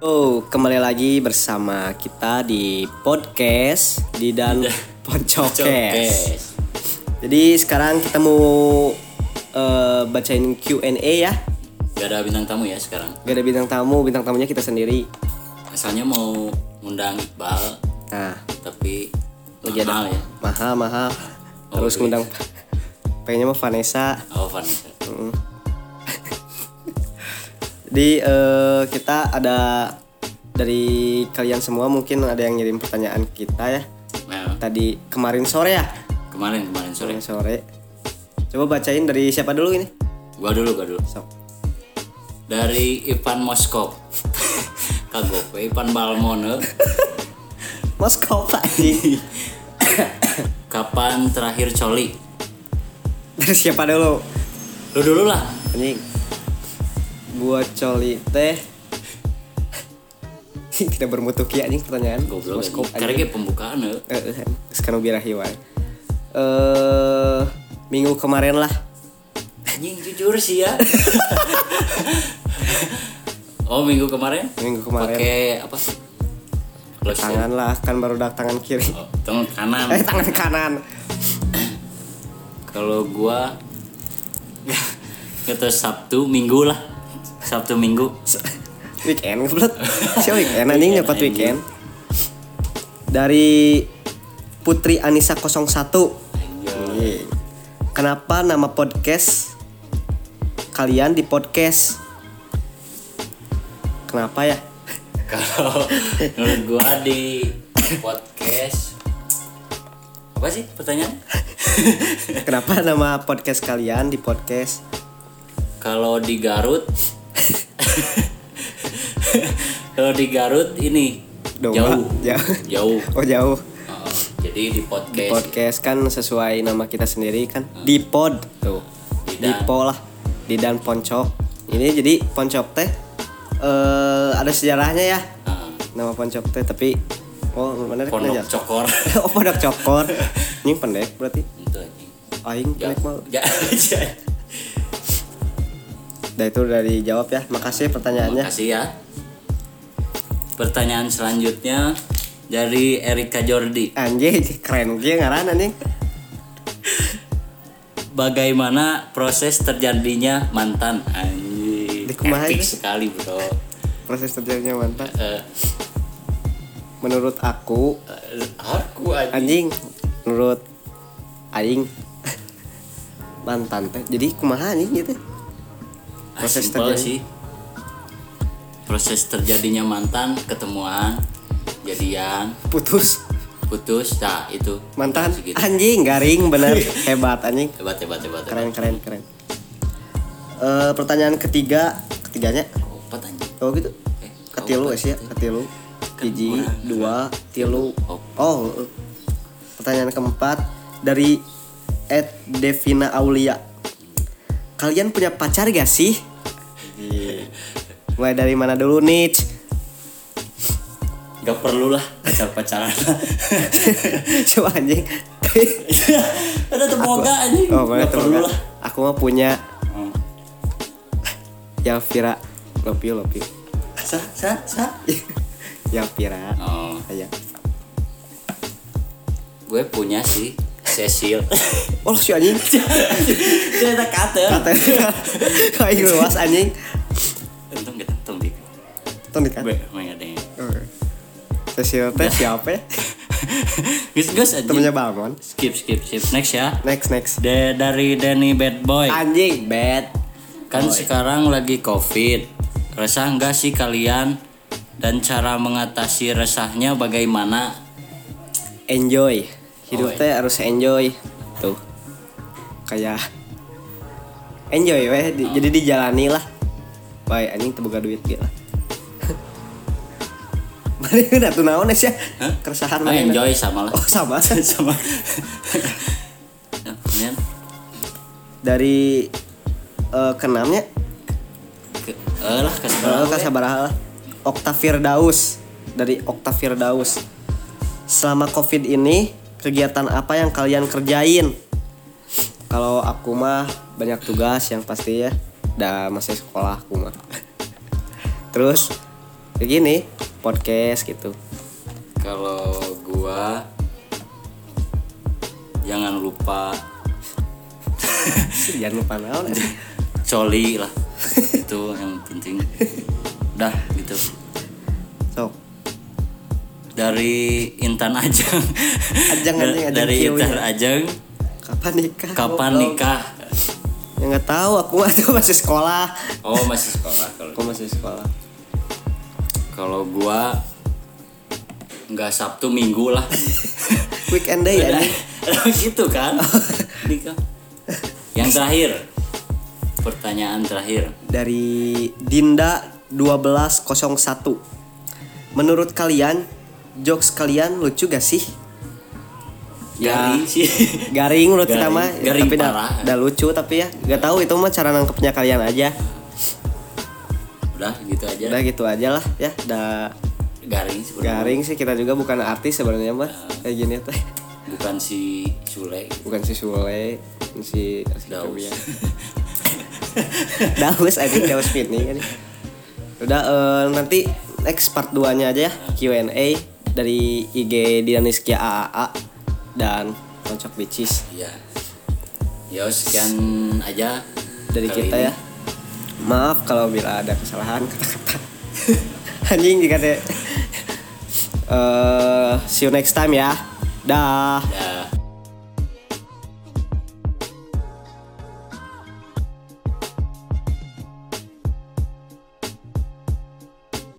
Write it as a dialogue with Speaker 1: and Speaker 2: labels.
Speaker 1: Oh, kembali lagi bersama kita di podcast di dan Poncokes.
Speaker 2: Cokes.
Speaker 1: Jadi sekarang kita mau eh, bacain Q&A ya.
Speaker 2: Gak ada bintang tamu ya sekarang.
Speaker 1: Gak ada bintang tamu, bintang tamunya kita sendiri.
Speaker 2: Asalnya mau ngundang Iqbal,
Speaker 1: Nah,
Speaker 2: tapi
Speaker 1: Lagi ada-
Speaker 2: mahal ya.
Speaker 1: mahal mahal.
Speaker 2: Oh,
Speaker 1: Harus
Speaker 2: duit.
Speaker 1: ngundang pengennya mah Vanessa.
Speaker 2: Oh, Vanessa.
Speaker 1: Jadi eh, kita ada dari kalian semua mungkin ada yang ngirim pertanyaan kita ya.
Speaker 2: Nah,
Speaker 1: Tadi kemarin sore ya.
Speaker 2: kemarin kemarin sore.
Speaker 1: Kemarin sore. Coba bacain dari siapa dulu ini?
Speaker 2: Gua dulu, gua dulu.
Speaker 1: Sok.
Speaker 2: Dari Ivan Moskop. Kagok, Ivan Balmone.
Speaker 1: Mas kau Pak Ji.
Speaker 2: Kapan terakhir coli?
Speaker 1: Dari siapa dulu?
Speaker 2: Lu dulu lah.
Speaker 1: Anjing. Gua coli teh. Tidak bermutu kia anjing pertanyaan.
Speaker 2: Goblok.
Speaker 1: Mas kau
Speaker 2: anjing. Karena
Speaker 1: anjing.
Speaker 2: ge pembukaan ya.
Speaker 1: Eh, eh, sekarang birahi wae. Eh, minggu kemarin lah.
Speaker 2: Anjing jujur sih ya. oh, minggu kemarin?
Speaker 1: Minggu kemarin.
Speaker 2: Pakai apa? Gloss ya?
Speaker 1: Tangan lah kan baru dak tangan kiri.
Speaker 2: Oh, tangan kanan.
Speaker 1: Eh tangan kanan.
Speaker 2: Kalau gua kata Sabtu Minggu lah. Sabtu Minggu.
Speaker 1: Weekend goblok. Si weekend anjing
Speaker 2: Weekend,
Speaker 1: nyepot
Speaker 2: anjing.
Speaker 1: weekend. Dari Putri Anissa 01. Anjing. Kenapa nama podcast kalian di podcast? Kenapa ya?
Speaker 2: Kalau menurut gua di podcast apa sih pertanyaan?
Speaker 1: Kenapa nama podcast kalian di podcast?
Speaker 2: Kalau di Garut Kalau di Garut ini
Speaker 1: Domba.
Speaker 2: jauh.
Speaker 1: Jauh.
Speaker 2: Jauh.
Speaker 1: Oh jauh.
Speaker 2: Oh, jadi di podcast.
Speaker 1: Podcast kan sesuai nama kita sendiri kan. Di pod tuh.
Speaker 2: Di
Speaker 1: Di
Speaker 2: dan.
Speaker 1: po lah. Di dan poncok. Ini jadi poncok teh eh ada sejarahnya ya.
Speaker 2: Ah,
Speaker 1: Nama poncok teh tapi oh benar
Speaker 2: pondok cokor.
Speaker 1: Oh pondok cokor. Ini pendek berarti.
Speaker 2: Itu anjing.
Speaker 1: Aing
Speaker 2: Ja-
Speaker 1: pendek mah.
Speaker 2: ja- ja-
Speaker 1: Nah itu dari jawab ya. Makasih pertanyaannya.
Speaker 2: Makasih ya. Pertanyaan selanjutnya dari Erika Jordi.
Speaker 1: Anjing keren dia ngaran anjing.
Speaker 2: Bagaimana proses terjadinya mantan? Anjing.
Speaker 1: Di kumaha
Speaker 2: Epic
Speaker 1: ini?
Speaker 2: sekali, Bro.
Speaker 1: Proses terjadinya mantap.
Speaker 2: Eh,
Speaker 1: Menurut aku
Speaker 2: eh, aku anjing.
Speaker 1: anjing menurut aing mantan teh. Jadi kumaha anjing gitu.
Speaker 2: Ah,
Speaker 1: proses
Speaker 2: simple
Speaker 1: terjadi-
Speaker 2: sih. Proses terjadinya mantan ketemuan, jadian,
Speaker 1: Putus
Speaker 2: putus, nah itu.
Speaker 1: mantan
Speaker 2: Segitu.
Speaker 1: anjing garing bener hebat anjing
Speaker 2: Hebat, hebat, hebat. hebat.
Speaker 1: keren keren keren. Eh, pertanyaan ketiga ketiganya
Speaker 2: Opat anjing.
Speaker 1: oh gitu
Speaker 2: Eh,
Speaker 1: ketilu
Speaker 2: opat.
Speaker 1: sih ya ketilu hiji
Speaker 2: kurang.
Speaker 1: dua tilu
Speaker 2: Oh.
Speaker 1: oh eh. pertanyaan keempat dari Ed Devina Aulia kalian punya pacar gak sih
Speaker 2: Iya.
Speaker 1: mulai dari mana dulu nih
Speaker 2: Gak perlu lah pacar-pacaran.
Speaker 1: coba anjing
Speaker 2: Ada temoga anjing.
Speaker 1: oh mana
Speaker 2: Gak perlu
Speaker 1: temen
Speaker 2: lah.
Speaker 1: aku mah punya
Speaker 2: Hmm.
Speaker 1: Yalvira love you love you
Speaker 2: Sa, sa, sa.
Speaker 1: Yalvira
Speaker 2: Oh,
Speaker 1: aja
Speaker 2: gue punya sih Cecil.
Speaker 1: oh si anjing
Speaker 2: Cerita kata.
Speaker 1: kata kayak luas anjing
Speaker 2: Untung gak tentu dik.
Speaker 1: tuh nih kan
Speaker 2: Gue main ada yang.
Speaker 1: Cecil teh siapa ya?
Speaker 2: Gus gus aja.
Speaker 1: Temennya Balmon.
Speaker 2: Skip skip skip next ya.
Speaker 1: Next next.
Speaker 2: De dari Danny Bad Boy.
Speaker 1: Anjing bad.
Speaker 2: Kan sekarang lagi covid. Resah nggak sih kalian? Dan cara mengatasi resahnya bagaimana?
Speaker 1: Enjoy. Hidup
Speaker 2: Oh,
Speaker 1: teh harus enjoy. Tuh. Kayak enjoy weh di- jadi dijalani lah. Baik anjing teu boga duit gitu lah. Mari udah tuh naon sih?
Speaker 2: Hah?
Speaker 1: Keresahan
Speaker 2: Oh,
Speaker 1: mana?
Speaker 2: enjoy sama lah.
Speaker 1: Oh sama.
Speaker 2: sama. Nah, kemudian
Speaker 1: Dari eh, kenamnya
Speaker 2: ke, eh lah ke
Speaker 1: Halo
Speaker 2: sebelah gue.
Speaker 1: kasabaraha Oktavir Daus dari Oktavir Daus. Selama Covid ini kegiatan apa yang kalian kerjain? Kalau aku mah banyak tugas yang pasti ya. Dah masih sekolah aku mah. Terus kayak gini podcast gitu
Speaker 2: Kalau gua jangan lupa
Speaker 1: jangan lupa naon ya.
Speaker 2: coli lah. Itu yang penting. Dah gitu.
Speaker 1: sok
Speaker 2: Dari Intan Ajeng.
Speaker 1: Ajeng,
Speaker 2: Da-
Speaker 1: anjing, Ajeng
Speaker 2: Dari
Speaker 1: kieu
Speaker 2: Intan
Speaker 1: ya.
Speaker 2: Ajeng
Speaker 1: kapan nikah
Speaker 2: kapan
Speaker 1: Goblok.
Speaker 2: nikah?
Speaker 1: ya nggak tahu aku mah tuh masih sekolah
Speaker 2: Oh, masih sekolah kalau.
Speaker 1: aku masih sekolah
Speaker 2: Kalau gua nggak Sabtu Minggu lah.
Speaker 1: weekend day ya
Speaker 2: Udah,
Speaker 1: nih
Speaker 2: emang gitu kan? Nikah. Yang terakhir. Pertanyaan terakhir.
Speaker 1: dari Dinda 1201 menurut kalian jokes kalian lucu gak sih
Speaker 2: Ya, sih.
Speaker 1: garing menurut kita
Speaker 2: Garing.
Speaker 1: mah ya,
Speaker 2: Garing
Speaker 1: tapi dah
Speaker 2: parah.
Speaker 1: dah lucu tapi ya nggak tahu itu mah cara nangkepnya kalian aja
Speaker 2: Udah gitu aja.
Speaker 1: udah gitu aja lah ya udah
Speaker 2: Garing sebenarnya.
Speaker 1: garing sih kita juga bukan artis sebenarnya mah kayak gini tuh
Speaker 2: Bukan si Sule.
Speaker 1: bukan si Sule bukan si si
Speaker 2: Daus.
Speaker 1: Cobian. Daus aja Daus Fitni kan udah eh, nanti next part 2 nya aja ya Q&A dari IG Dianiskia AAA dan Kocok Bicis
Speaker 2: Iya. Ya sekian aja
Speaker 1: dari
Speaker 2: kali
Speaker 1: kita
Speaker 2: ini.
Speaker 1: ya maaf kalau bila ada kesalahan kata-kata anjing jika teh eh see you next time ya dah
Speaker 2: Ya.